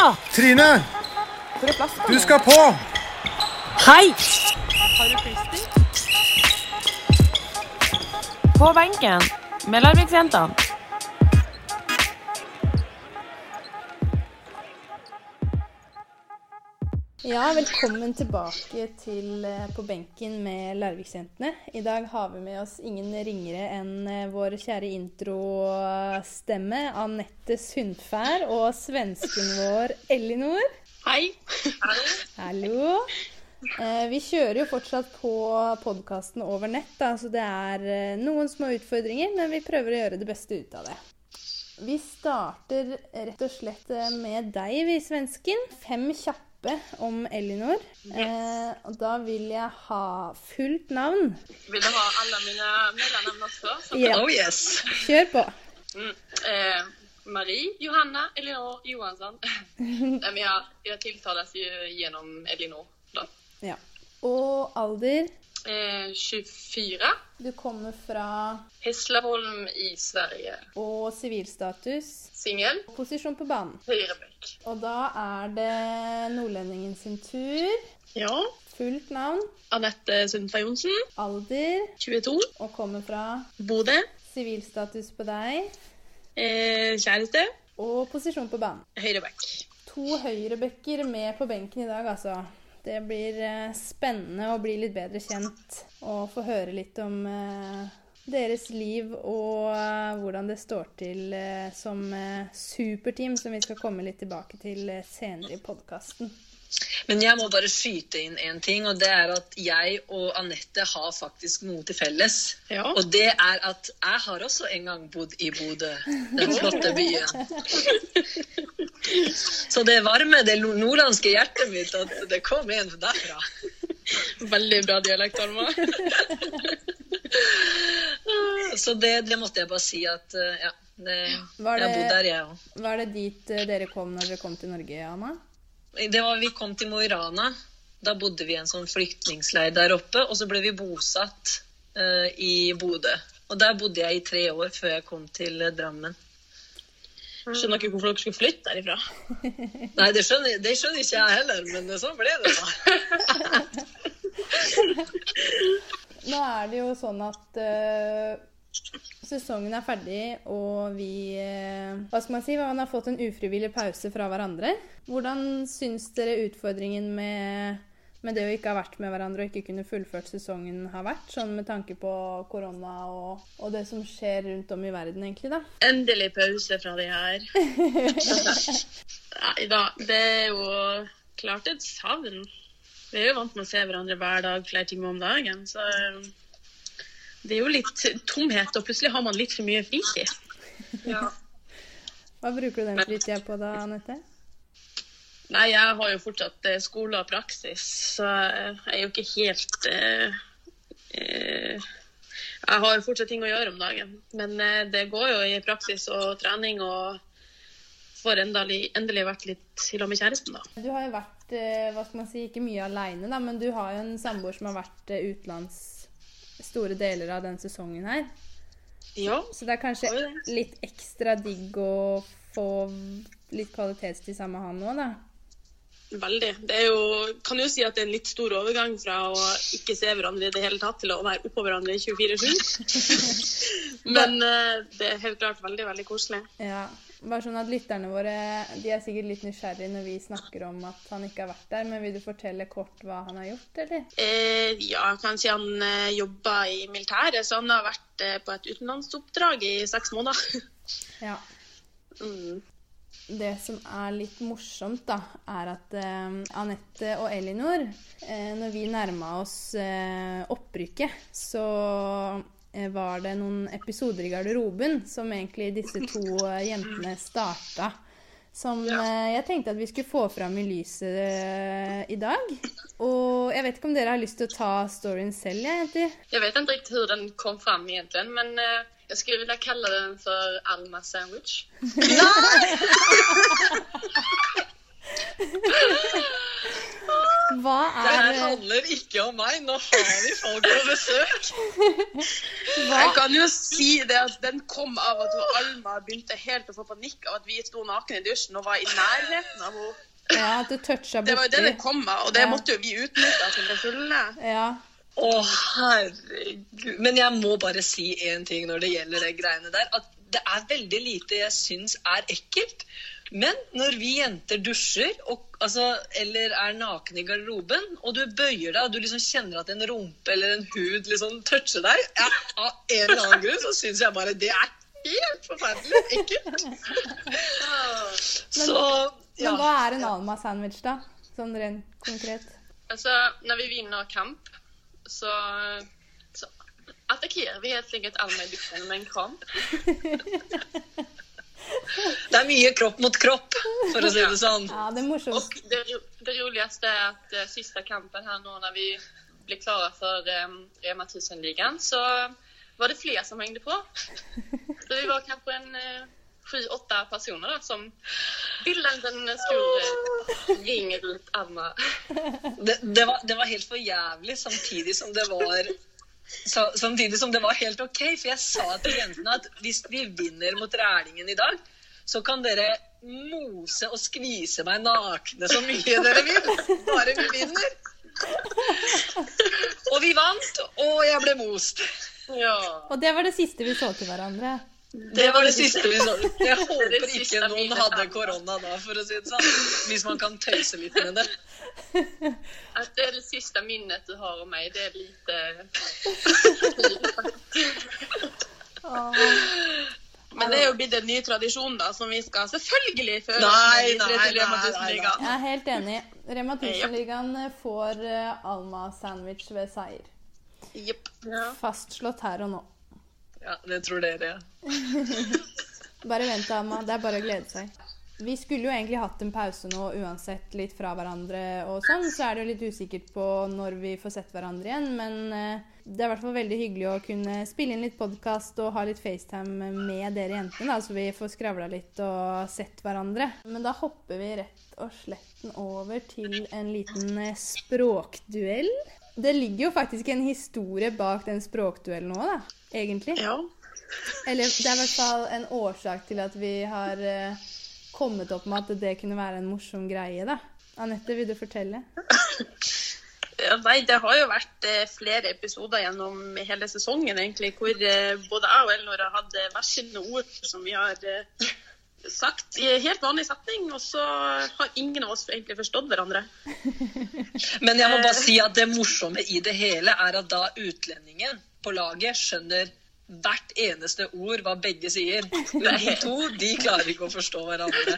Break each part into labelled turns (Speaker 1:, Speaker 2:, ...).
Speaker 1: Ja!
Speaker 2: Trine,
Speaker 3: Får du plass?
Speaker 2: du skal på!
Speaker 1: Hei!
Speaker 3: Har du plister?
Speaker 4: På benken med Larviksjentene.
Speaker 5: Ja, velkommen tilbake til eh, På benken med Larviksjentene. I dag har vi med oss ingen ringere enn eh, vår kjære introstemme Anette Sundfær og svensken vår Ellinor.
Speaker 6: Hei.
Speaker 5: Hallo. Eh, vi kjører jo fortsatt på podkasten over nett, da, så det er eh, noen små utfordringer, men vi prøver å gjøre det beste ut av det. Vi starter rett og slett eh, med deg, vi svensken. Fem kjappe om Elinor. Eh, og da vil jeg ha fullt navn.
Speaker 6: Vill du ha alla mina mellannamn också? Så-
Speaker 5: Ja.
Speaker 6: Oh yes.
Speaker 5: Kjør på.
Speaker 6: Mm. Eh, Marie, Johanna, Elinor, Johansson. Eh, Nej, men jag, jag tilltalas ju genom Elinor. Då.
Speaker 5: Ja. Og alder.
Speaker 6: Eh, 24.
Speaker 5: Du kommer fra
Speaker 6: Hässleholm i Sverige.
Speaker 5: og sivilstatus.
Speaker 6: Singel.
Speaker 5: Posisjon på banen.
Speaker 6: Hyrebäck.
Speaker 5: Og da er det nordlendingen sin tur.
Speaker 6: Ja.
Speaker 5: Fullt navn,
Speaker 6: Anette Sundfar Jonsson,
Speaker 5: alder
Speaker 6: 22.
Speaker 5: og kommer fra
Speaker 6: Bodø.
Speaker 5: sivilstatus på deg
Speaker 6: Eh, kjæreste.
Speaker 5: og posisjon på banen.
Speaker 6: Høyrebekk.
Speaker 5: To høyrebekker med på benken i dag, altså. Det blir eh, spennende å bli litt bedre kjent og få høre litt om eh, deres liv og eh, hvordan det står til eh, som eh, superteam, som vi skal komme litt tilbake til eh, senere i podkasten.
Speaker 7: Men jeg må bare skyte inn en ting, og det er at jeg og Anette har faktisk noe til felles.
Speaker 6: Ja.
Speaker 7: Og det er at jeg har også en gang bodd i Bodø, den flotte byen. Så det varmer det lo- nordlandske hjertet mitt at det kom en derfra.
Speaker 6: Veldig bra dialekt, Alma.
Speaker 7: Så det, det måtte jeg bare si at eh, ja. Det,
Speaker 5: Var
Speaker 7: Jeg har bodd
Speaker 5: det-
Speaker 7: der, jeg òg.
Speaker 5: Var det dit eh, dere kom når dere kom til Norge, Anna?
Speaker 7: Det var Vi kom til Mo i Rana. Da bodde vi i en sånn flyktningleir der oppe. Og så ble vi bosatt eh, i Bodø. Og der bodde jeg i tre år før jeg kom til eh, Drammen.
Speaker 6: Skjønner ikke hvorfor dere skulle flytte derifra.
Speaker 7: Nei, det skjønner, det skjønner ikke jeg heller, men sånn ble det, da.
Speaker 5: Nå er det jo sånn at eh, sesongen er ferdig, og vi eh, Hva skal man si? Man har fått en ufrivillig pause fra hverandre. Hvordan syns dere utfordringen med, med det å ikke ha vært med hverandre og ikke kunne fullført sesongen har vært? Sånn med tanke på korona og, og det som skjer rundt om i verden, egentlig, da.
Speaker 6: Endelig pause fra de her. Nei da, det er jo klart et savn. Vi er jo vant med å se hverandre hver dag flere timer om dagen, så um, det er jo litt tomhet, og plutselig har man litt for mye fritid.
Speaker 5: Hva bruker du den fritida på da, Anette?
Speaker 6: Nei, jeg har jo fortsatt eh, skole og praksis, så eh, jeg er jo ikke helt eh, eh, Jeg har fortsatt ting å gjøre om dagen, men eh, det går jo i praksis og trening og får endelig, endelig vært litt i lag med kjæresten, da.
Speaker 5: Du har jo vært, eh, hva skal man si, ikke mye aleine, da, men du har jo en samboer som har vært eh, utenlands store deler av den sesongen her.
Speaker 6: Ja,
Speaker 5: Så det er kanskje
Speaker 6: Oi, det.
Speaker 5: litt ekstra digg å få litt kvalitetstid sammen med han nå, da.
Speaker 6: veldig. Det er jo, kan jo si at det er en litt stor overgang fra å ikke se hverandre i det hele tatt til å være oppå hverandre 24-7. Men eh, det er helt klart veldig, veldig koselig.
Speaker 5: Ja. Bare sånn at lytterne våre de er sikkert litt nysgjerrige når vi snakker om at han ikke har vært der, men vil du fortelle kort hva han har gjort, eller?
Speaker 6: Eh, ja, jeg kan si han eh, jobber i militæret, så han har vært eh, på et utenlandsoppdrag i seks måneder.
Speaker 5: Ja.
Speaker 6: Mm.
Speaker 5: Det som er litt morsomt, da, er at eh, Anette og Elinor, eh, når vi nærma oss eh, opprykket, så eh, var det noen episoder i garderoben som egentlig disse to eh, jentene starta. Som eh, jeg tenkte at vi skulle få fram i lyset eh, i dag. Og jeg vet ikke om dere har lyst til å ta storyen selv, jeg, jenter.
Speaker 6: Jeg vet ikke riktig hvordan den kom fram, egentlig, men eh, jeg skulle ville kalle den for Alma sandwich.
Speaker 5: Hva Hva
Speaker 7: Det her
Speaker 5: er,
Speaker 7: handler ikke om meg. Nå har vi folk på besøk.
Speaker 8: Jeg kan jo si det at den kom av at hun Alma begynte helt å få panikk av at vi sto nakne i dusjen og var i nærheten av henne.
Speaker 5: ja, at du toucha
Speaker 8: Det var jo det det
Speaker 5: borti
Speaker 8: kom av, og det
Speaker 5: Ja.
Speaker 8: måtte jo vi utnytte til det fulle.
Speaker 5: ja.
Speaker 7: Å, herregud. Men jeg må bare si én ting når det gjelder de greiene der. At det er veldig lite jeg syns er ekkelt. Men når vi jenter dusjer og, altså, eller er nakne i garderoben, og du bøyer deg og du liksom kjenner at en rumpe eller en hud liksom toucher deg, ja, av en eller annen grunn så syns jeg bare det er helt forferdelig ekkelt. Så ja.
Speaker 5: Men hva er en Alma-sandwich, da? Sånn rent konkret.
Speaker 6: Altså, når vi vinner kamp, så, så attackerer vi helt sikkert Alma i dusjen med en kram.
Speaker 7: Det er mye kropp mot kropp, for å si det sånn.
Speaker 5: Ja, det er morsomt.
Speaker 6: Och det, ro- det roligaste är att eh, sista kampen här nu när vi blev klara för eh, Rema 1000-ligan så var det fler som hängde på. Så vi var kanske en eh, sju, åtta personer då, som bildade en stor eh, ring runt Alma.
Speaker 7: det, det, var, det var helt for jævlig, samtidig som det var sa- Samtidig som det var helt OK. For jeg sa til jentene at hvis vi vinner mot Rælingen i dag, så kan dere mose og skvise meg nakne så mye dere vil. Bare vi vinner. Og vi vant, og jeg ble most.
Speaker 6: Ja.
Speaker 5: Og det var det siste vi så til hverandre.
Speaker 7: Det var det siste vi så.
Speaker 6: Det
Speaker 7: Jeg håper
Speaker 6: er det siste
Speaker 7: ikke noen
Speaker 6: vi
Speaker 7: hadde
Speaker 6: vet.
Speaker 7: korona da, for å si det sånn. Hvis man kan tøyse litt med det.
Speaker 6: Att det är det sista minnet du har av mig, det är lite...
Speaker 5: Åh.
Speaker 8: Men det er jo blitt en ny tradisjon, da, som vi skal selvfølgelig føre.
Speaker 7: Nei,
Speaker 8: videre
Speaker 7: nei,
Speaker 8: til Rema
Speaker 7: nei,
Speaker 8: 1000-ligaen.
Speaker 5: Jeg er helt enig. Rema 1000-ligaen får eh, Alma-sandwich ved seier.
Speaker 8: Jepp.
Speaker 5: Fastslått her og nå.
Speaker 7: Ja, det tror dere. ja.
Speaker 5: Bare vent, Alma. Det er bare å glede seg. Vi skulle jo egentlig hatt en pause nå uansett, litt fra hverandre og sånn. Så er det jo litt usikkert på når vi får sett hverandre igjen, men eh, det er i hvert fall veldig hyggelig å kunne spille inn litt podkast og ha litt FaceTime med dere jentene, da, så vi får skravla litt og sett hverandre. Men da hopper vi rett og slett over til en liten eh, språkduell. Det ligger jo faktisk en historie bak den språkduellen nå, da. Egentlig.
Speaker 8: Ja.
Speaker 5: Eller det er i hvert fall en årsak til at vi har eh, kommet opp med at det kunne være en morsom greie, da. Anette, vil du fortelle?
Speaker 8: Ja, Nei, det har jo vært eh, flere episoder gjennom hele sesongen, egentlig, hvor eh, både jeg og Elnor har hatt eh, hver sine ord som vi har eh, sagt i en helt vanlig setning, og så har ingen av oss egentlig forstått hverandre.
Speaker 7: Men jeg må bare si at det morsomme i det hele er at da utlendingen på laget skjønner hvert eneste ord hva begge sier. De to de klarer ikke å forstå hverandre.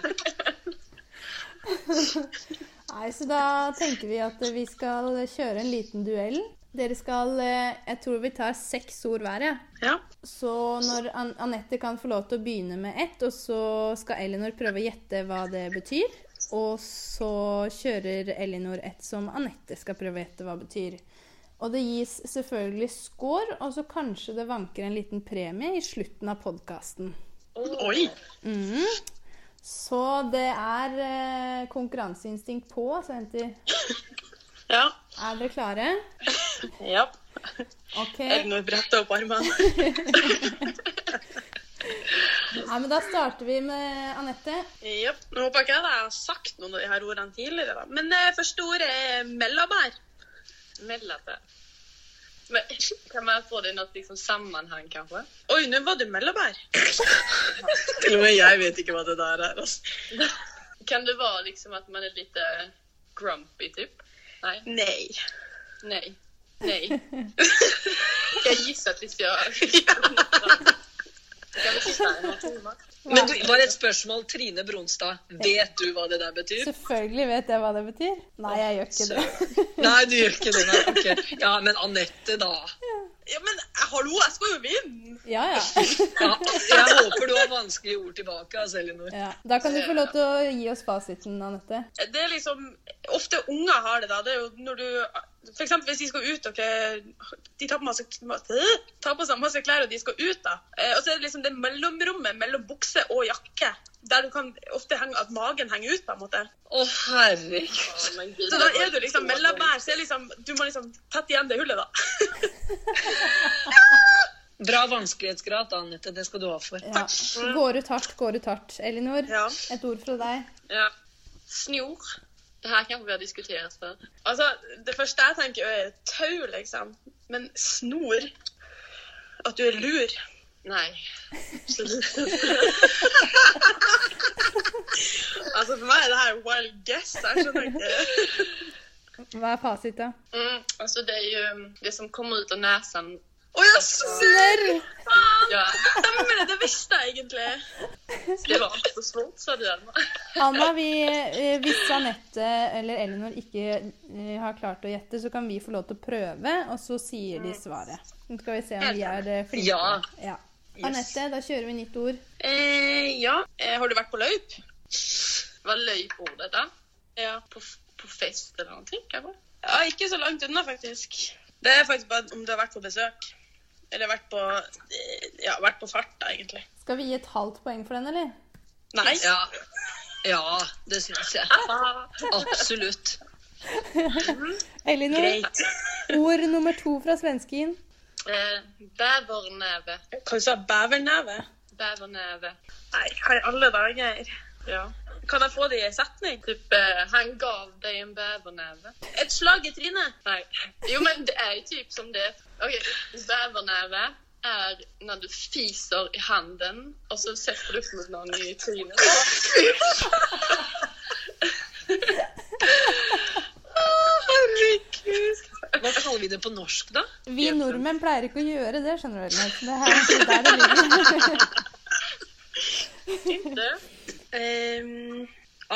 Speaker 5: Nei, så da tenker vi at vi skal kjøre en liten duell. Dere skal eh, Jeg tror vi tar seks ord hver, jeg.
Speaker 8: Ja.
Speaker 5: Så når An Anette kan få lov til å begynne med ett, og så skal Elinor prøve å gjette hva det betyr. Og så kjører Elinor ett som Anette skal prøve å gjette hva betyr. Og det gis selvfølgelig score, og så kanskje det vanker en liten premie i slutten av podkasten.
Speaker 8: Oi!
Speaker 5: Mhm. Så det er eh, konkurranseinstinkt på, altså, jenter.
Speaker 8: Ja.
Speaker 5: Er dere klare?
Speaker 8: ja.
Speaker 5: OK.
Speaker 8: Elnor bretter opp armene.
Speaker 5: Nei, men da starter vi med Anette.
Speaker 8: Jepp. Nå håper jeg ikke at jeg har sagt noen av de her ordene tidligere, da. Men eh, første ord er mellabær.
Speaker 6: Mellate. Men, kan man få det i något liksom, sammanhang kanske?
Speaker 8: Oi, nå var du mellabær.
Speaker 7: Til og med jeg vet ikke hva det der er. Altså.
Speaker 6: Kan det vara liksom att man är lite grumpy typ? Nej,
Speaker 8: Nei.
Speaker 6: nej, nej. Jag gissar tills jag... Kan vi sitta här i några timmar?
Speaker 7: Men du, bare et spørsmål. Trine Bronstad, vet du hva det der betyr?
Speaker 5: Selvfølgelig vet jeg hva det betyr. Nei, jeg gjør ikke det.
Speaker 7: Nei, du gjør ikke det. Nei. ok. Ja, men Anette, da.
Speaker 8: Ja, men eh, hallo, jeg skal jo vinne!
Speaker 5: Ja, ja.
Speaker 7: Ja, jeg håper du har vanskelige ord tilbake, altså, Elinor.
Speaker 5: ja. Da kan du få lov til å gi oss fasiten, Anette.
Speaker 8: det er liksom Ofte unger har det, da. Det er jo når du For eksempel hvis de skal ut og kle De tar på, masse, tar på seg masse klær, og de skal ut, da. Eh, Og så er det liksom det mellomrommet mellom bukse og jakke. Der du kan ofte henge, at magen henger ut, på en måte.
Speaker 7: Å, herregud.
Speaker 8: Så da er du liksom mellombær, så er liksom, du må liksom tette igjen det hullet, da.
Speaker 7: Bra vanskelighetsgrad, da, Anette. Det skal du ha for.
Speaker 5: Ja. Går ut hardt, går ut hardt. Elinor,
Speaker 8: Ja.
Speaker 5: et ord fra deg.
Speaker 6: Ja. Snor. Det her kanskje vi har diskutert før.
Speaker 8: Altså, det første jeg tenker er tau, liksom. Men snor. At du er lur.
Speaker 6: Nei.
Speaker 8: Altså, for meg er det her wild guess. Jeg skjønner ikke.
Speaker 5: Hva er fasit, da?
Speaker 6: Mm, altså det er jo um, det som kommer ut av nesen. Altså-
Speaker 8: Å ja, snørr!
Speaker 6: Ja,
Speaker 8: Stemmer det! Det visste jeg egentlig.
Speaker 6: det var ikke så svårt, sa du, Alma.
Speaker 5: Anna, vi, eh, hvis Anette eller Elinor ikke eh, har klart å gjette, så kan vi få lov til å prøve, og så sier de svaret. Nå skal vi se om vi er eh, flinke.
Speaker 7: Ja.
Speaker 5: Ja. Anette, da kjører vi nytt ord.
Speaker 8: Eh, ja. Eh, har du vært på løyp?
Speaker 6: Var løyp ordet da?
Speaker 8: Ja.
Speaker 6: På, på fest eller noe? Kanskje?
Speaker 8: ja. Ikke så langt unna, faktisk. Det er faktisk bare om du har vært på besøk. Eller vært på eh, Ja, vært på fart, da, egentlig.
Speaker 5: Skal vi gi et halvt poeng for den, eller?
Speaker 8: Nei.
Speaker 7: Ja. ja, det syns jeg. Absolutt.
Speaker 5: Elinor,
Speaker 8: Greit.
Speaker 5: ord nummer to fra svensken.
Speaker 6: Eh, bæverneve.
Speaker 8: Hva du sa du? Beverneve?
Speaker 6: Bæverneve.
Speaker 8: Nei, hva i alle dager?
Speaker 6: Ja.
Speaker 8: Kan jeg få det i en setning?
Speaker 6: Typ, eh, han gav deg en bæverneve.
Speaker 8: Et slag i trynet?
Speaker 6: Nei. Jo, men det er jo typ som det. Ok, bæverneve er når du fiser i handen, og så setter du opp mot noen i trynet.
Speaker 7: Herregud. Hva kaller vi det på norsk, da?
Speaker 5: Vi nordmenn pleier ikke å gjøre det, skjønner du. Elinor. Så Det her- det er der det ligger.
Speaker 6: Det.
Speaker 8: Um,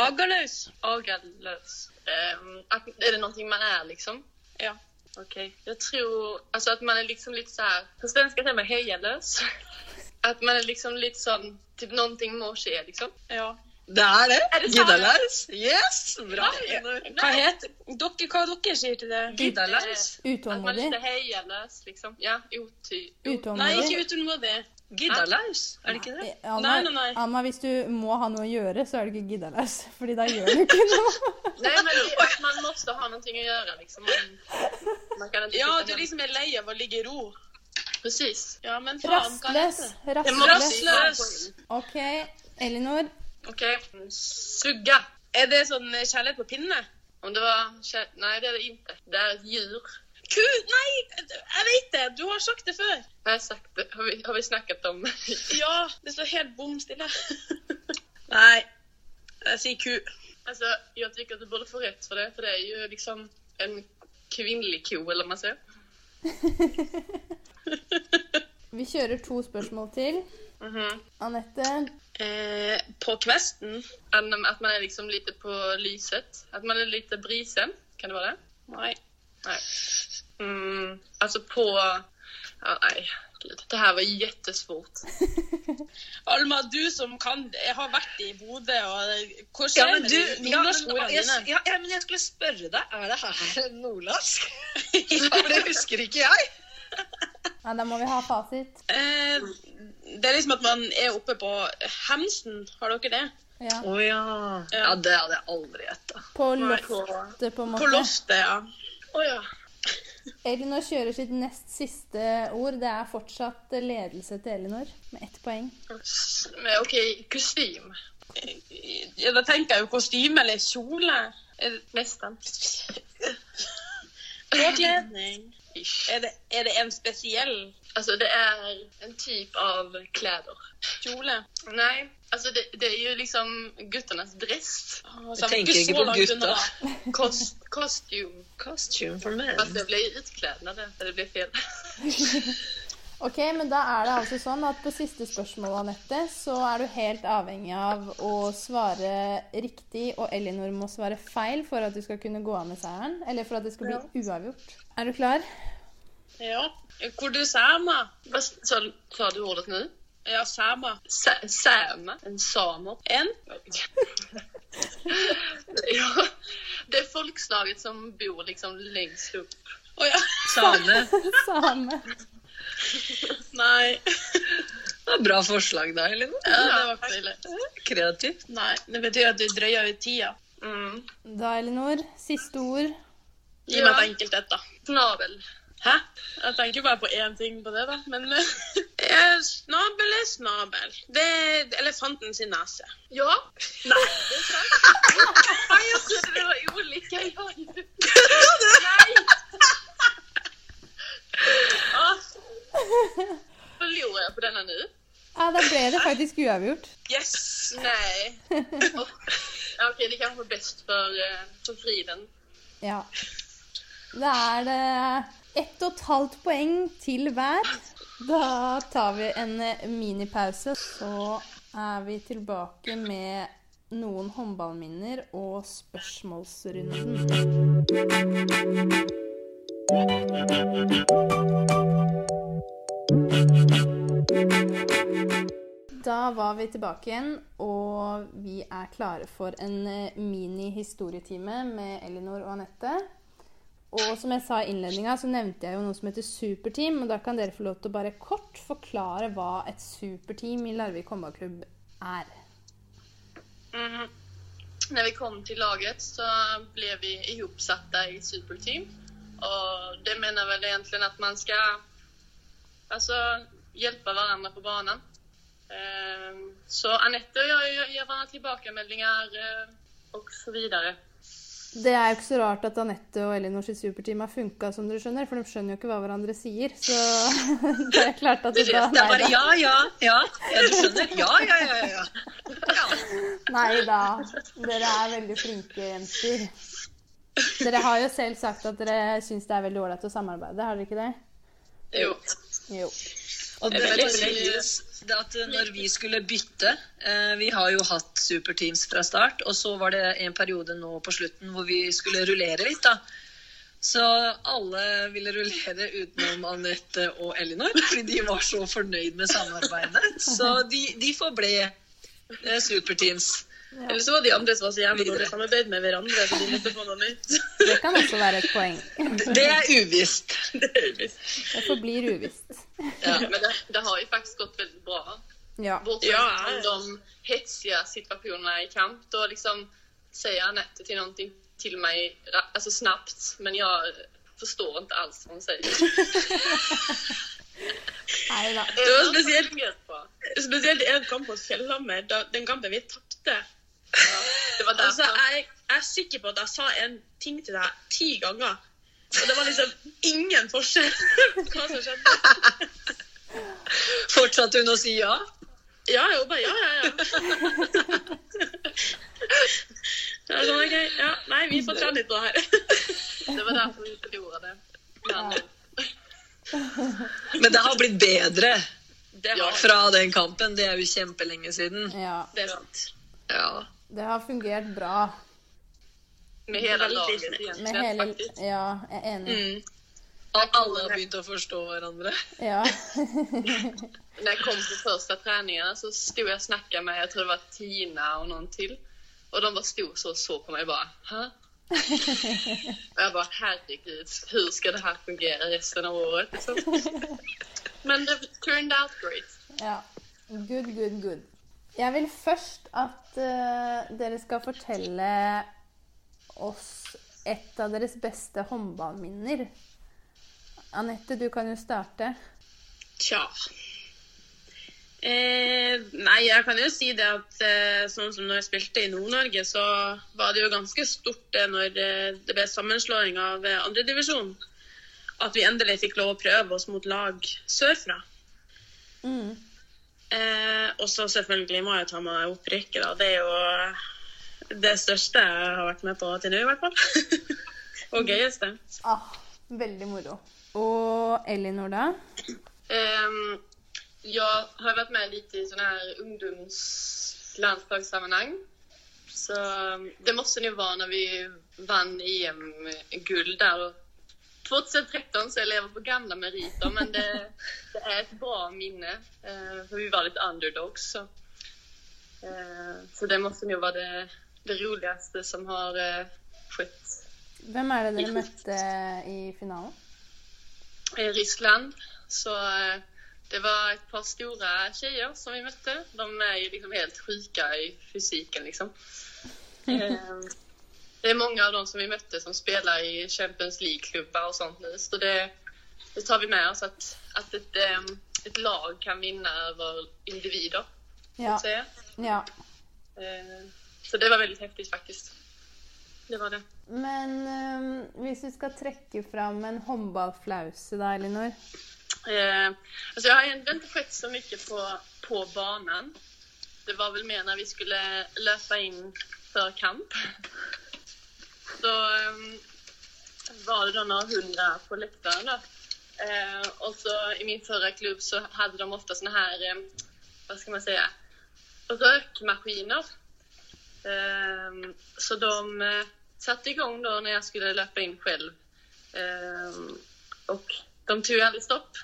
Speaker 8: agerløs.
Speaker 6: Agaløs. Ehm, at, er det noe man er, liksom?
Speaker 8: Ja.
Speaker 6: Ok. Jeg tror altså at man er liksom litt sånn På svenska sier man hejaløs. At man er liksom litt sånn typ Noe må skje, liksom.
Speaker 8: Ja.
Speaker 7: Det er det.
Speaker 6: Er det sant?
Speaker 7: Giddalaus. Yes! Bra. Elinor.
Speaker 8: Hva heter dere, hva dere sier til det?
Speaker 7: Giddalaus.
Speaker 6: At man er
Speaker 5: Utålmodig.
Speaker 6: lite hejaløs, liksom. Ja, oty...
Speaker 8: Nei,
Speaker 5: Utålmodig.
Speaker 8: ikke utålmodig.
Speaker 7: Giddalaus, er det ikke det?
Speaker 5: Amma,
Speaker 8: Nei, nei, nei.
Speaker 5: Amma, hvis du må ha noe å gjøre, så er du ikke giddalaus. Fordi da gjør du ikke noe.
Speaker 6: Nei, men det er at man måste ha noe å gjøre, liksom. Man, man kan ikke
Speaker 8: Ja,
Speaker 6: sitte
Speaker 8: du
Speaker 6: med-
Speaker 8: liksom er lei av å ligge i ro.
Speaker 6: Precis.
Speaker 8: Ja, men faen, hva
Speaker 5: Rastløs.
Speaker 8: heter det?
Speaker 6: Det må
Speaker 5: Rastløs.
Speaker 6: vi ha
Speaker 8: Rastløs.
Speaker 6: poäng.
Speaker 5: OK. Elinor.
Speaker 6: Ok. Mm, Sugga.
Speaker 8: Er det sånn eh, kjærlighet på pinne?
Speaker 6: Om det var... kä- Nej, det är det inte. Det är ett djur.
Speaker 8: Ku, nei, jeg vet det! Du har sagt det før.
Speaker 6: Har jag sagt det? Har vi, har vi snackat om...
Speaker 8: Ja, det står helt bom stille. nei, jeg sier ku.
Speaker 6: Alltså, jag tycker att du borde få rätt för det, för det är ju liksom en kvinnlig ko, eller vad man säger.
Speaker 5: Vi kjører to spørsmål til. Anette.
Speaker 8: Eh, på kvesten?
Speaker 6: Att- Att man är liksom lite på lyset, att man är lite brisen, kan det vara det?
Speaker 8: Nei.
Speaker 6: Nej. Mm, alltså på... Ja, nej, gud. Det här var jättesvårt.
Speaker 8: Alma, du som kan Jeg har vært i Bodø, og hvor
Speaker 7: Ja,
Speaker 8: skjer
Speaker 7: men
Speaker 8: det
Speaker 7: du,
Speaker 8: med
Speaker 7: ja, men,
Speaker 8: nordnorskordene
Speaker 7: jeg,
Speaker 8: dine?
Speaker 7: ja, ja, men jeg skulle spørre deg, er det her nordlandsk? Ja, for det husker ikke jeg.
Speaker 5: Ja, da må vi ha fasit.
Speaker 8: Eh, det er liksom at man er oppe på Hemsen. Har dere det?
Speaker 5: Ja.
Speaker 7: Å ja. Ja, det hadde jeg aldri gjetta.
Speaker 5: På loftet, på en
Speaker 8: På
Speaker 5: måte.
Speaker 8: loftet, ja.
Speaker 6: Oh, ja.
Speaker 5: Elinor kjører sitt nest siste ord. Det er fortsatt ledelse til Elinor med ett poeng.
Speaker 6: Men Okej, kostym.
Speaker 8: ja. Da tenker jeg jo kostyme eller kjole. Er det-
Speaker 6: Nästan.
Speaker 8: Påkledning.
Speaker 6: Ish.
Speaker 8: Er det, er det en spesiell
Speaker 6: Alltså det är en typ av kläder.
Speaker 8: kjole?
Speaker 6: Nej, alltså det, det är ju liksom gutternas dress.
Speaker 8: Altså,
Speaker 7: Jeg tenker
Speaker 8: så
Speaker 7: ikke på
Speaker 8: langt
Speaker 7: gutta.
Speaker 8: unna, da.
Speaker 6: Kost, kostym.
Speaker 7: Costume for men.
Speaker 6: Fast det blir ju utklädnader, så det blir fel.
Speaker 5: Ok, men da er det altså sånn at på siste spørsmål, Anette, så er du helt avhengig av å svare riktig, og Elinor må svare feil for at du skal kunne gå av med seieren. Eller for at det skal bli uavgjort. Er du klar?
Speaker 8: Ja. Hvor du samer?
Speaker 6: Vad sa, sa du ordet nu?
Speaker 8: Ja, samer.
Speaker 6: Sa- Säma? En samer?
Speaker 8: En?
Speaker 6: Ja, det är folkslaget som bor liksom längst upp
Speaker 8: Å ja.
Speaker 7: Same.
Speaker 5: Same.
Speaker 8: Nei.
Speaker 7: Det er bra forslag da, Helene.
Speaker 8: Ja, det var ikke så ille.
Speaker 7: Kreativt.
Speaker 8: Nei, det betyr at du drøyer ut tida.
Speaker 6: Mm.
Speaker 5: Da, Elinor, siste ord.
Speaker 8: Gi
Speaker 6: Ja.
Speaker 8: meg et enkelt et, da.
Speaker 6: Snabel.
Speaker 8: Hæ? Jeg tenker jo bare på én ting på det, da. Men eh, snabel er snabel. Det er elefanten sin nese.
Speaker 6: Ja. Nei, jag trodde det var olika. Jag... Nej! Ja. Förlorar jag på denna nu?
Speaker 5: Ja, da ble det faktisk uavgjort.
Speaker 6: Yes! Nej. Oh. Ja, Okej, det kanske var bäst för, eh, för friden.
Speaker 5: Ja. Da er det ett og et halvt poeng til hver. Da tar vi en eh, minipause. Så er vi tilbake med noen håndballminner og spørsmålsrunden. Da var vi tilbake igjen, og vi er klare for en eh, mini-historietime med Elinor og Anette. Og som jeg sa i innledninga, så nevnte jeg jo noe som heter superteam. Og da kan dere få lov til å bare kort forklare hva et superteam i Larvik håndballklubb er.
Speaker 6: Mm. När vi kom till laget så blev vi ihopsatta i ett superteam. Och det menar väl egentligen att man ska alltså, hjälpa varandra på banan. Ehm, Så Anette och jag gör- gör varandra tillbakameldingar eh, och så vidare.
Speaker 5: Det er jo ikke så rart at Anette og Elinor sitt superteam har funka, som dere skjønner. For de skjønner jo ikke hva hverandre sier. Så det er klart at
Speaker 7: Det
Speaker 5: det da
Speaker 7: er bare
Speaker 5: Nei da.
Speaker 7: ja, ja, ja. ja du skjønner? Ja, ja, ja. ja, ja.
Speaker 5: Nei da. Dere er veldig flinke jenter. Dere har jo selv sagt at dere syns det er veldig ålreit å samarbeide, har dere ikke det?
Speaker 8: Jo.
Speaker 5: Jo.
Speaker 7: Og det
Speaker 8: Jeg
Speaker 7: er
Speaker 8: vil
Speaker 7: bare
Speaker 8: si-
Speaker 7: litt- det at når vi skulle bytte eh, Vi har jo hatt superteams fra start, og så var det en periode nå på slutten hvor vi skulle rullere litt, da. Så alle ville rullere utenom Anette og Elinor, fordi de var så fornøyd med samarbeidet. Så de, de forble eh, superteams.
Speaker 8: Eller så var de andre som var så jævlig dårlig samarbeid med hverandre, så de måtte få noe nytt.
Speaker 5: Det kan også være et poeng.
Speaker 7: Det er uvisst.
Speaker 5: Det forblir uvisst.
Speaker 6: Ja, men det, det har ju faktiskt gått väldigt bra.
Speaker 5: Ja.
Speaker 6: Bortsett
Speaker 8: Ja.
Speaker 6: från de hetsiga situationerna i kamp. Då liksom säger Anette till någonting till mig ra- alltså snabbt, men jag förstår inte alls vad hon säger.
Speaker 5: Nei da.
Speaker 6: Det
Speaker 8: var speciellt. Spesielt en kamp mot Fjellhammer, da, den kampen vi tapte.
Speaker 6: Det var
Speaker 8: Altså,
Speaker 6: derfor.
Speaker 8: jeg, jeg er sikker på at jeg sa en ting til deg ti ganger, og det var liksom ingen forskjell på hva som skjedde.
Speaker 7: Fortsatte hun å si ja?
Speaker 8: Ja, jeg bare ja, ja, ja. Det er sånn, ok, ja. Nei, vi får trene litt på det her.
Speaker 6: Det var därför vi förlorade. Men,
Speaker 7: Men det har blitt bedre
Speaker 8: Det var
Speaker 7: fra den kampen. Det er jo kjempelenge siden.
Speaker 5: Ja.
Speaker 8: det er sant.
Speaker 7: Ja.
Speaker 5: Det har fungert bra
Speaker 6: med hela
Speaker 8: Väldigt
Speaker 6: laget
Speaker 8: snyggt.
Speaker 5: med
Speaker 6: egentligen
Speaker 5: hele
Speaker 6: faktiskt.
Speaker 5: Ja, jeg er enig.
Speaker 7: At alle har begynt å forstå hverandre.
Speaker 5: Ja.
Speaker 6: När jag kom på första träningarna så stod jag och snackade med, jag tror det var Tina och någon till. Och de bara stod så och såg på mig bara, Hä? Och jag bara, herregud, hur ska det här fungera resten av året? Liksom. Men det turned out great.
Speaker 5: ja. Good, good, good. Jeg vil først at eh, dere skal fortelle oss et av deres beste håndballminner. Anette, du kan jo starte.
Speaker 8: Tja. Eh, nei, jeg kan jo si det at eh, sånn som når jeg spilte i Nord-Norge, så var det jo ganske stort det når eh, det ble sammenslåing av eh, andredivisjon. At vi endelig fikk lov å prøve oss mot lag sørfra.
Speaker 5: Mm.
Speaker 8: Eh, og så selvfølgelig må jeg ta meg opprykket, da. Det er jo eh, det største jeg har vært med på til nå, i hvert fall. og gøyeste.
Speaker 5: Ah, veldig moro. Og Elinor, da?
Speaker 6: Ehm, jag har varit med lite i sådana här ungdomslandslagssammanhang. Så ehm, det måste nog vara när vi vann EM-guld där. Och 2013 så jag lever på gamla meriter men det, det är ett bra minne. eh, för vi var lite underdogs. Så, eh, så det måste nog vara det, det roligaste som har eh, skett.
Speaker 5: Hvem er det dere møtte i finalen?
Speaker 6: i Ryssland. Så eh, det var ett par stora tjejer som vi mötte. De är ju liksom helt sjuka i fysiken liksom. Eh, Det är många av dem som vi mötte som spelar i Champions League-klubbar och sånt nu. Så det, det tar vi med oss att, att ett, eh, ett lag kan vinna över individer.
Speaker 5: Ja.
Speaker 6: Så, eh,
Speaker 5: ja.
Speaker 6: så det var väldigt häftigt faktiskt. Det var det.
Speaker 5: Men eh, hvis vi skal trekke fram en håndballflause da, Elinor
Speaker 6: Eh, alltså jag har ändå inte skett så mycket på, på banan. Det var väl mer när vi skulle löpa in för kamp. Så eh, var det då några hundra på läktaren då. Eh, och så i min förra klubb så hade de ofta såna här, eh, vad ska man säga, rökmaskiner. Ehm, så de eh, satte igång då när jag skulle löpa in själv. Ehm, och de tog ju aldrig stopp.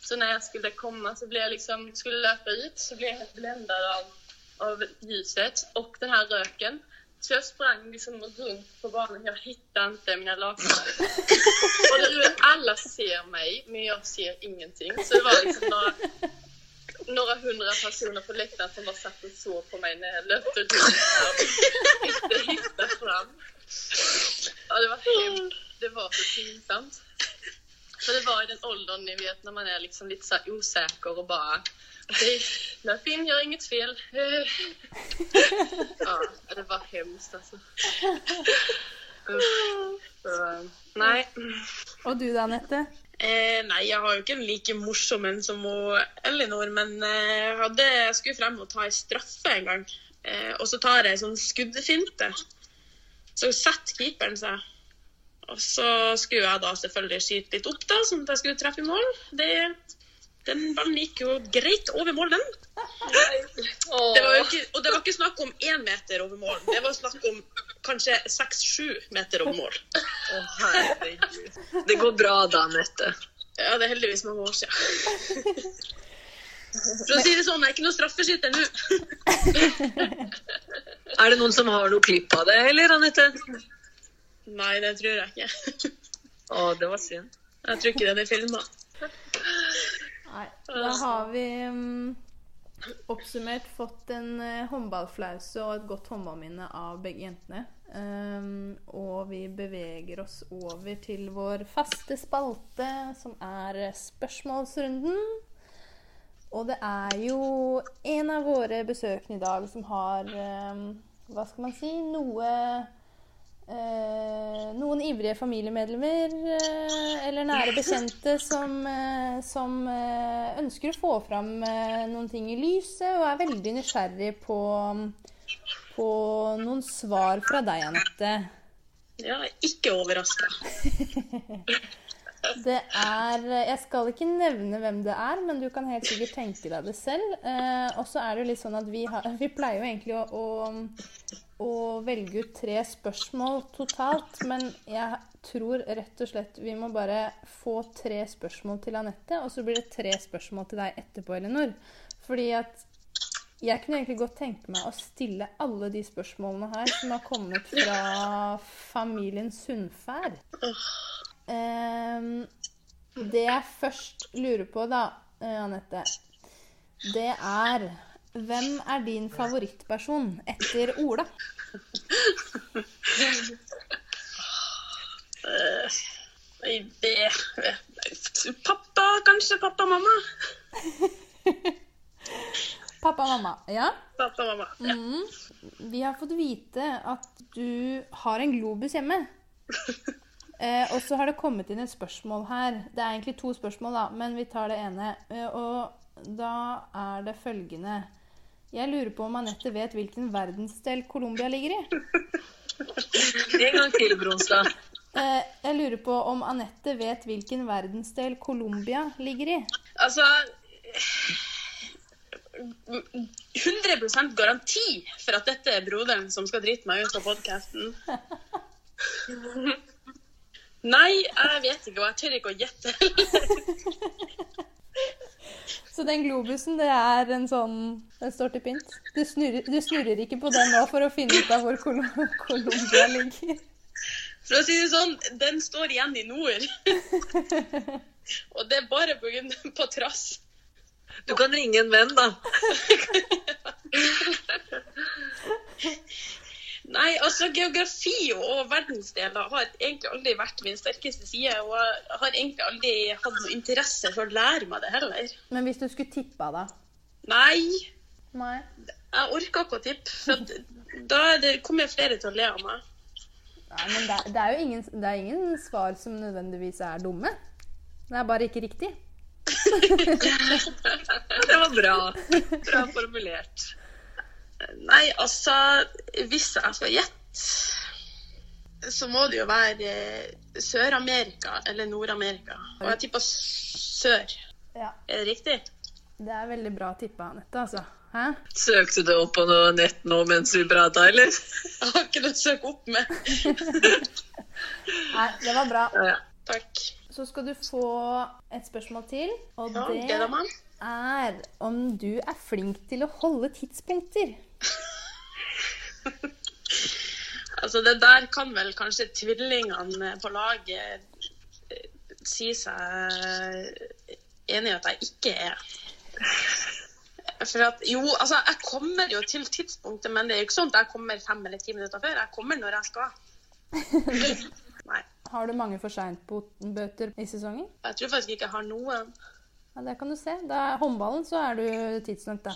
Speaker 6: Så när jag skulle komma så blev jag liksom, skulle löpa ut så blev jag helt bländad av, av ljuset och den här röken. Så jag sprang liksom runt på banan, jag hittade inte mina lagkamrater. Och det, är- alla ser mig, men jag ser ingenting. Så det var liksom några, några hundra personer på läktaren som bara satt och såg på mig när jeg løpte rundt her og ikke hitta fram. Ja, det var hemskt. Det var så pinsamt. For det var i den ålderen, ni vet, når man er liksom litt så usikker og bare "Hei, Løp inn, gjør inget fel. Ja, det var hemskt, altså. Uff. Så, nei.
Speaker 5: Og du da, Anette?
Speaker 8: Eh, nei, jeg har jo ikke en like morsom en som hun, Elinor, men eh, jeg hadde, jeg skulle frem og ta en straffe en gang. Eh, og så tar jeg en sånn skuddfinte. Så setter keeperen seg. Og så skulle jeg da selvfølgelig skyte litt opp, da, sånn at jeg skulle treffe i mål. Det, den ballen gikk jo greit over mål, den. Det var jo ikke, og det var ikke snakk om én meter over mål. Det var snakk om kanskje seks-sju meter over mål.
Speaker 7: Å, herregud. Det går bra da, Anette.
Speaker 8: Ja, det er heldigvis mange år siden. For å si det sånn, jeg er ikke noen straffeskytter nå.
Speaker 7: Er det noen som har noe klipp av det, eller, Anette?
Speaker 8: Nei, det tror jeg ikke.
Speaker 7: Å, det var synd.
Speaker 8: Jeg tror ikke den er filma.
Speaker 5: Nei. Da har vi mm, oppsummert fått en eh, håndballflause og et godt håndballminne av begge jentene. Um, og vi beveger oss over til vår faste spalte, som er eh, spørsmålsrunden. Og det er jo en av våre besøkende i dag som har eh, Hva skal man si? Noe eh, Noen ivrige familiemedlemmer eh, eller nære bekjente som, eh, som eh, ønsker å få fram eh, noen ting i lyset, og er veldig nysgjerrig på, på noen svar fra deg, Anette.
Speaker 8: Ja, jeg er ikke overraska.
Speaker 5: Det er eh, Jeg skal ikke nevne hvem det er, men du kan helt sikkert tenke deg det selv. Eh, og så er det jo litt sånn at vi, har, vi pleier jo egentlig å, å, å velge ut tre spørsmål totalt, men jeg tror rett og slett vi må bare få tre spørsmål til Anette, og så blir det tre spørsmål til deg etterpå, Elinor. Fordi at jeg kunne egentlig godt tenke meg å stille alle de spørsmålene her som har kommet fra familien Sundfær. Ehm, det jeg først lurer på, da, eh, Anette, det er Hvem er din favorittperson etter Ola?
Speaker 8: Nei, det Pappa, kanskje? Pappa og mamma?
Speaker 5: Pappa og mamma. Ja?
Speaker 8: Pappa og mamma. Ja.
Speaker 5: Vi har fått vite at du har en globus hjemme. Eh, og så har det kommet inn et spørsmål her. Det er egentlig to spørsmål, da, men vi tar det ene. Eh, og da er det følgende Jeg lurer på om Anette vet hvilken verdensdel Colombia ligger i?
Speaker 7: En gang til, Bronstad.
Speaker 5: Eh, jeg lurer på om Anette vet hvilken verdensdel Colombia ligger i?
Speaker 8: Altså 100 garanti for at dette er broderen som skal drite meg ut av podkasten. Nei, jeg vet ikke, og jeg tør ikke å gjette.
Speaker 5: Så den globusen, det er en sånn Den står til pynt. Du snurrer, du snurrer ikke på den nå for å finne ut av hvor Colo- Colombia ligger.
Speaker 8: For å si det sånn, den står igjen i nord. Og det er bare på, grunn- på trass.
Speaker 7: Du kan ringe en venn, da.
Speaker 8: Nei, altså geografi og verdensdeler har egentlig aldri vært min sterkeste side. Og jeg har egentlig aldri hatt noe interesse for å lære meg det heller.
Speaker 5: Men hvis du skulle tippa, da?
Speaker 8: Nei,
Speaker 5: Nei.
Speaker 8: jeg orker ikke å tippe. For at da er det, kommer flere til å le av meg.
Speaker 5: Nei, men det, er- det er jo ingen, det er ingen svar som nødvendigvis er dumme. Det er bare ikke riktig.
Speaker 7: Det var bra. Bra formulert.
Speaker 8: Nei, altså Hvis jeg skal gjette, så må det jo være eh, Sør-Amerika eller Nord-Amerika. Og jeg tipper sør.
Speaker 5: Ja.
Speaker 8: Er det riktig?
Speaker 5: Det er veldig bra tippa, Anette, altså. Hæ?
Speaker 7: Søkte du opp på noe nett nå mens vi prata, eller?
Speaker 8: Jeg har ikke noe å søke opp med.
Speaker 5: Nei, det var bra.
Speaker 7: Ja.
Speaker 8: Takk.
Speaker 5: Så skal du få et spørsmål til, og
Speaker 8: Ja,
Speaker 5: det
Speaker 8: gleder meg.
Speaker 5: er om du er flink til å holde tidspunkter.
Speaker 8: Altså, det der kan vel kanskje tvillingene på laget eh, si seg enig i at jeg ikke er. For at, jo, altså, jeg kommer jo til tidspunktet, men det er jo ikke sånn at jeg kommer fem eller ti minutter før. Jeg kommer når jeg skal. Nei,
Speaker 5: Har du mange for seint-bøter i sesongen?
Speaker 8: jeg tror faktisk ikke jeg har noen.
Speaker 5: Ja, det kan du se. Da er håndballen, så er du tidsnok, da.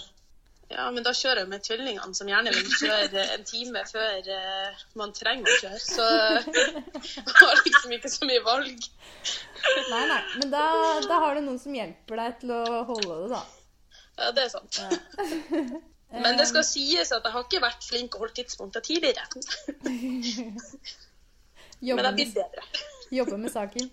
Speaker 8: Ja, men da kjører jeg med tvillingene, som gjerne vil kjøre eh, en time før eh, man trenger å kjøre. Så jeg har liksom ikke så mye valg.
Speaker 5: Nei, nei, men da, da har du noen som hjelper deg til å holde det, da.
Speaker 8: Ja, det er sant. Men det skal sies at jeg har ikke vært flink å holde tidspunkter tidligere. Men jeg
Speaker 5: Jobbe
Speaker 8: har blitt
Speaker 5: med,
Speaker 8: bedre.
Speaker 5: jobbe med saken.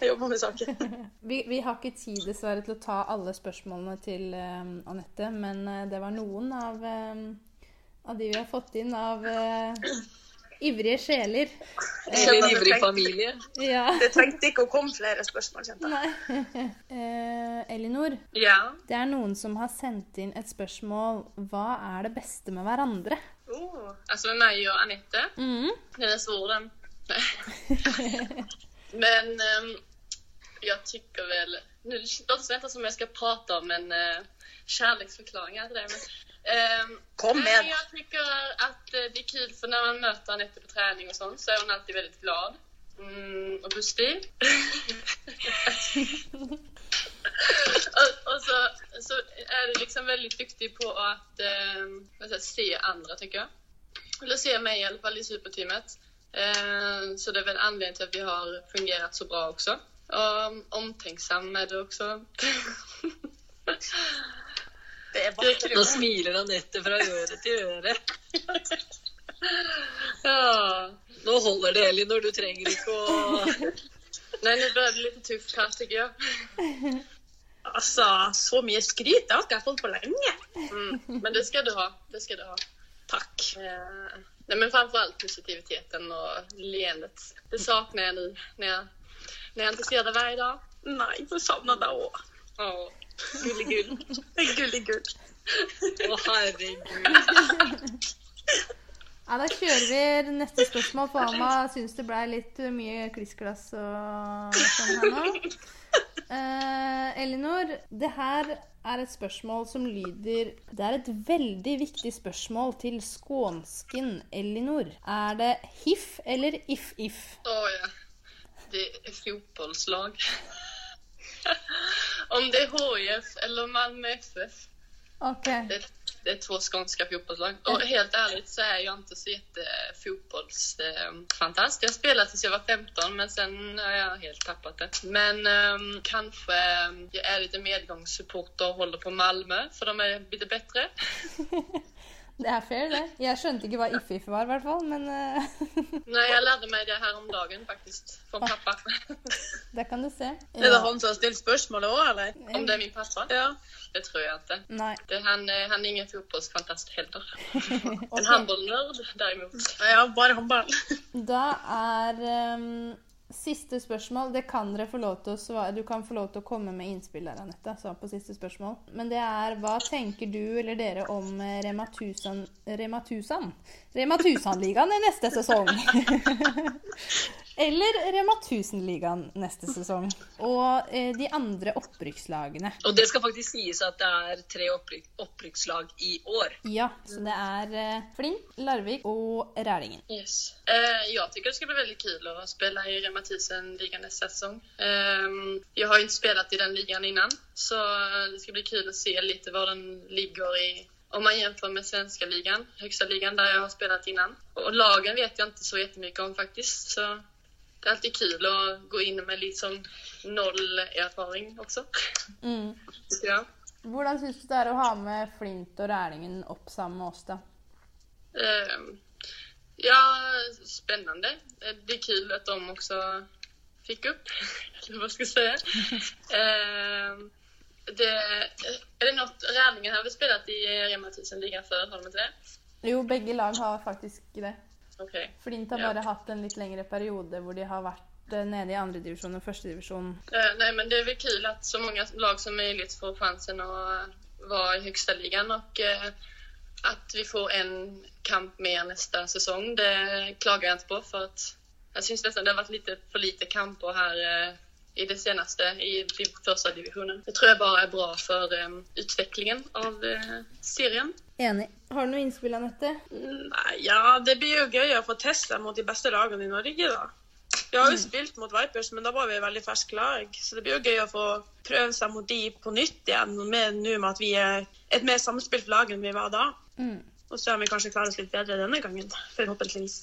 Speaker 8: Jeg jobber med saken.
Speaker 5: Vi, vi har ikke tid dessverre til å ta alle spørsmålene til eh, Anette, men eh, det var noen av, eh, av de vi har fått inn av eh, ivrige sjeler.
Speaker 7: Eller en ivrig familie.
Speaker 5: Ja.
Speaker 8: Det trengte ikke å komme flere spørsmål, kjente jeg.
Speaker 5: Nei. Eh, Elinor,
Speaker 6: Ja.
Speaker 5: det er noen som har sendt inn et spørsmål. Hva er det beste med hverandre?
Speaker 6: Oh. Alltså med mig och Anette. Den är svår den. men ehm, jag tycker väl... Nu låter det nästan som jag ska prata om en uh, kärleksförklaring. Alltså det, men, ehm,
Speaker 8: Kom
Speaker 6: nej, men
Speaker 8: med!
Speaker 6: jag tycker att eh, det är kul för när man möter Anette på träning och sånt så är hon alltid väldigt glad. Mm, och positiv. och, och så, så är du liksom väldigt duktig på att eh, vad ska jag säga, se andra, tycker jag. Eller se mig i alla fall i superteamet. Eh, så det är väl anledningen till att vi har fungerat så bra också. Och um, omtänksam är du också.
Speaker 8: Det er vakre
Speaker 7: Nå smiler Anette fra øre til øre.
Speaker 6: ja.
Speaker 7: Nå holder det, Elinor. Du trenger ikke å
Speaker 6: Nej, nu börjar det bli lite tufft här tycker jag.
Speaker 8: Altså, så mye skryt det har ikke jeg fått på lenge.
Speaker 6: Mm. Men det ska du ha. Det ska du ha.
Speaker 8: Takk.
Speaker 6: Eh, nej, men framförallt positiviteten och leendet. Det saknar jag nu när jag, när jag inte ser det varje dag.
Speaker 8: Nei, så savna deg òg.
Speaker 6: Ja.
Speaker 8: Gulligull. Gulligull.
Speaker 7: Å, herregud.
Speaker 5: Ja, da kjører vi neste spørsmål, for Alma syns det blei litt mye klissglass og sånn her nå. Eh, Elinor, det her er et spørsmål som lyder Det er et veldig viktig spørsmål til skånsken Elinor. Er det hif eller if-if?
Speaker 6: Åh, ja. Det är fotbollslag. Om det är HIF eller Malmö FF.
Speaker 5: Ok.
Speaker 6: Det, det är två skånska fotbollslag. Och helt ärligt så är jag inte så jättefotbollsfantast. Jag spelade tills jag var 15 men sen har jag helt tappat det. Men ehm, kanske ehm, jag är lite medgångssupporter och håller på Malmö för de är lite bättre.
Speaker 5: Det er fair, det. Jeg skjønte ikke hva if-if var, i hvert fall, men eh,
Speaker 6: Nej, jag lärde mig det här om dagen faktiskt från pappa.
Speaker 5: det kan du se.
Speaker 8: Er det han som har stilt spørsmålet òg, eller?
Speaker 6: Om det är min pappa?
Speaker 8: Ja.
Speaker 6: Det tror jag inte.
Speaker 5: Nei.
Speaker 6: Det, han, eh, han är ingen fotbollsfantast heller. En
Speaker 5: ok.
Speaker 6: handbollnörd däremot.
Speaker 8: Ja, bare håndball.
Speaker 5: Da er ehm, Siste spørsmål. Det kan dere få lov til å svare. Du kan få lov til å komme med innspill der, Anette. Så på siste spørsmål. Men det er hva tenker du eller dere om eh, Rema 1000 Rema 1000? Rema 1000-ligaen i neste sesong? eller Rema 1000-ligaen neste sesong? Og eh, de andre opprykkslagene.
Speaker 7: Og det skal faktisk sies at det er tre opprykk, opprykkslag i år.
Speaker 5: Ja, så det er eh, Flink, Larvik og Rælingen.
Speaker 6: Yes. Eh, jag tycker det ska bli väldigt kul att spela i Rema 1000-ligan nästa säsong. Ehm, jag har ju inte spelat i den ligan innan, så det ska bli kul att se lite var den ligger i om man jämför med svenska ligan, högsta ligan där jag har spelat innan. Och lagen vet jag inte så jättemycket om faktiskt, så det är alltid kul att gå in med liksom noll erfaring också,
Speaker 5: Mm.
Speaker 6: tycker jag.
Speaker 5: Hvordan syns du det er å ha med Flint og Rælingen opp sammen med oss, da?
Speaker 6: Ehm, Ja, spännande. Eh, Det är kul att de också fick upp, eller vad ska jag säga. Ehm, det, är det något, Rärlingen har väl spelat i Rema 1000-ligan förr, har de inte det?
Speaker 5: Jo, begge lag har faktisk det.
Speaker 6: Okej.
Speaker 5: Flint har
Speaker 6: Ja.
Speaker 5: bare hatt en litt lengre periode hvor de har vært eh, nede i andredivisjon og førstedivisjon.
Speaker 6: Eh, nej, men det är väl kul att så många lag som möjligt får chansen att eh, vara i högsta ligan och eh, att vi får en kamp mer nästa säsong, det klagar jag inte på för att jag syns nästan det har varit lite för lite kamper här eh, i det senaste, i div- första divisionen. Det tror jag bara är bra för eh, utvecklingen av eh, serien.
Speaker 5: Enig. Har du noe innspill, Anette?
Speaker 8: Nei, ja, det blir jo gøy å få teste mot de beste lagene i Norge, da. Vi har jo spilt mot Vipers, men da var vi et veldig ferskt lag. Så det blir jo gøy å få prøve seg mot de på nytt igjen, og med nå med at vi er et mer samspilt lag enn vi var da.
Speaker 5: Mm.
Speaker 8: Og se om vi kanskje klarer oss litt bedre denne gangen, forhåpentligvis.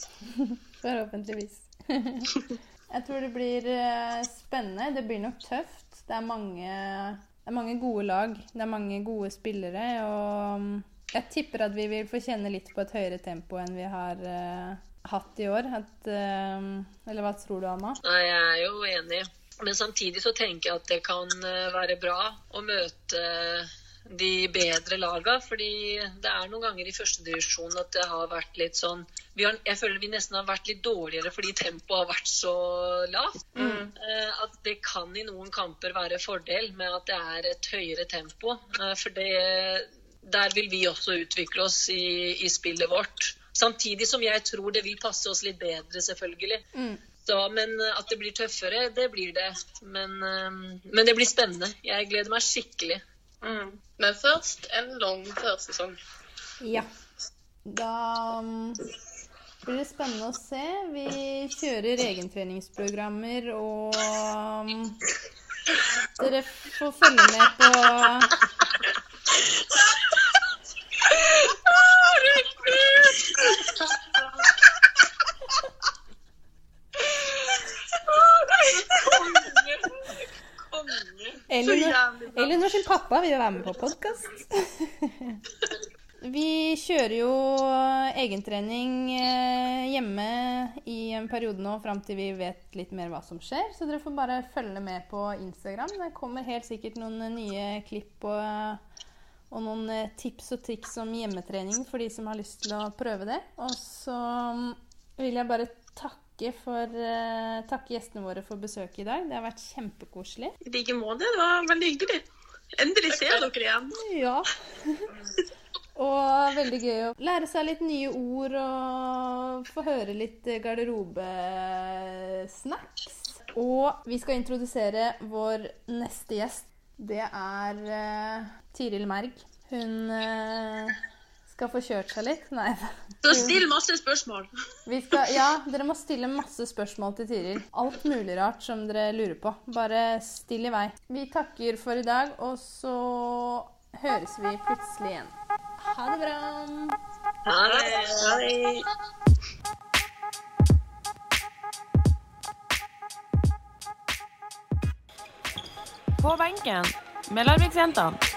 Speaker 5: Forhåpentligvis. Jeg tror det blir eh, spennende. Det blir nok tøft. Det er mange, det er mange gode lag. Det er mange gode spillere. Og mm, jeg tipper at vi vil få kjenne litt på et høyere tempo enn vi har eh, hatt i år. At, eh, eller hva tror du, Anna?
Speaker 7: Nei, jeg er jo enig. Men samtidig så tenker jeg at det kan eh, være bra å møte eh, de bedre laga, fordi det er noen ganger i førstedivisjon at det har vært litt sånn vi har, Jeg føler vi nesten har vært litt dårligere fordi tempoet har vært så lavt. Eh, At det kan i noen kamper være fordel med at det er et høyere tempo. eh, For det, der vil vi også utvikle oss i, i spillet vårt. Samtidig som jeg tror det vil passe oss litt bedre, selvfølgelig. Så, men eh, at det blir tøffere, det blir det. Men, eh, men det blir spennende. Jeg gleder meg skikkelig.
Speaker 6: Men först en lång försäsong.
Speaker 5: Ja. Da mm, blir det spennende å se. Vi kjører egentreningsprogrammer og mm, Dere får følge med på Elinor, Elinor sin pappa vil jo være med på podkast. Vi kjører jo egentrening eh, hjemme i en periode nå fram til vi vet litt mer hva som skjer. Så dere får bare følge med på Instagram. Det kommer helt sikkert noen eh, nye klipp og, eh, og noen eh, tips og triks om hjemmetrening for de som har lyst til å prøve det. Og så mm, vil jeg bare takke, for, eh, takke gjestene våre for besøket i dag. Det har vært kjempekoselig.
Speaker 8: I like måte. Det var veldig hyggelig. Endelig ser jeg dere igjen.
Speaker 5: Ja. Og veldig gøy å lære seg litt nye ord og få høre litt garderobesnacks. Og vi skal introdusere vår neste gjest. Det er eh, Tiril Merg. Hun eh, skal få kjørt seg litt. Nei.
Speaker 8: Så still masse spørsmål.
Speaker 5: Vi skal, ja, dere må stille masse spørsmål til Tiril. Alt mulig rart som dere lurer på. Bare still i vei. Vi takker for i dag, og så høres vi plutselig igjen. Ha det bra!
Speaker 7: Ha det!
Speaker 4: På benken med Larviksjentene.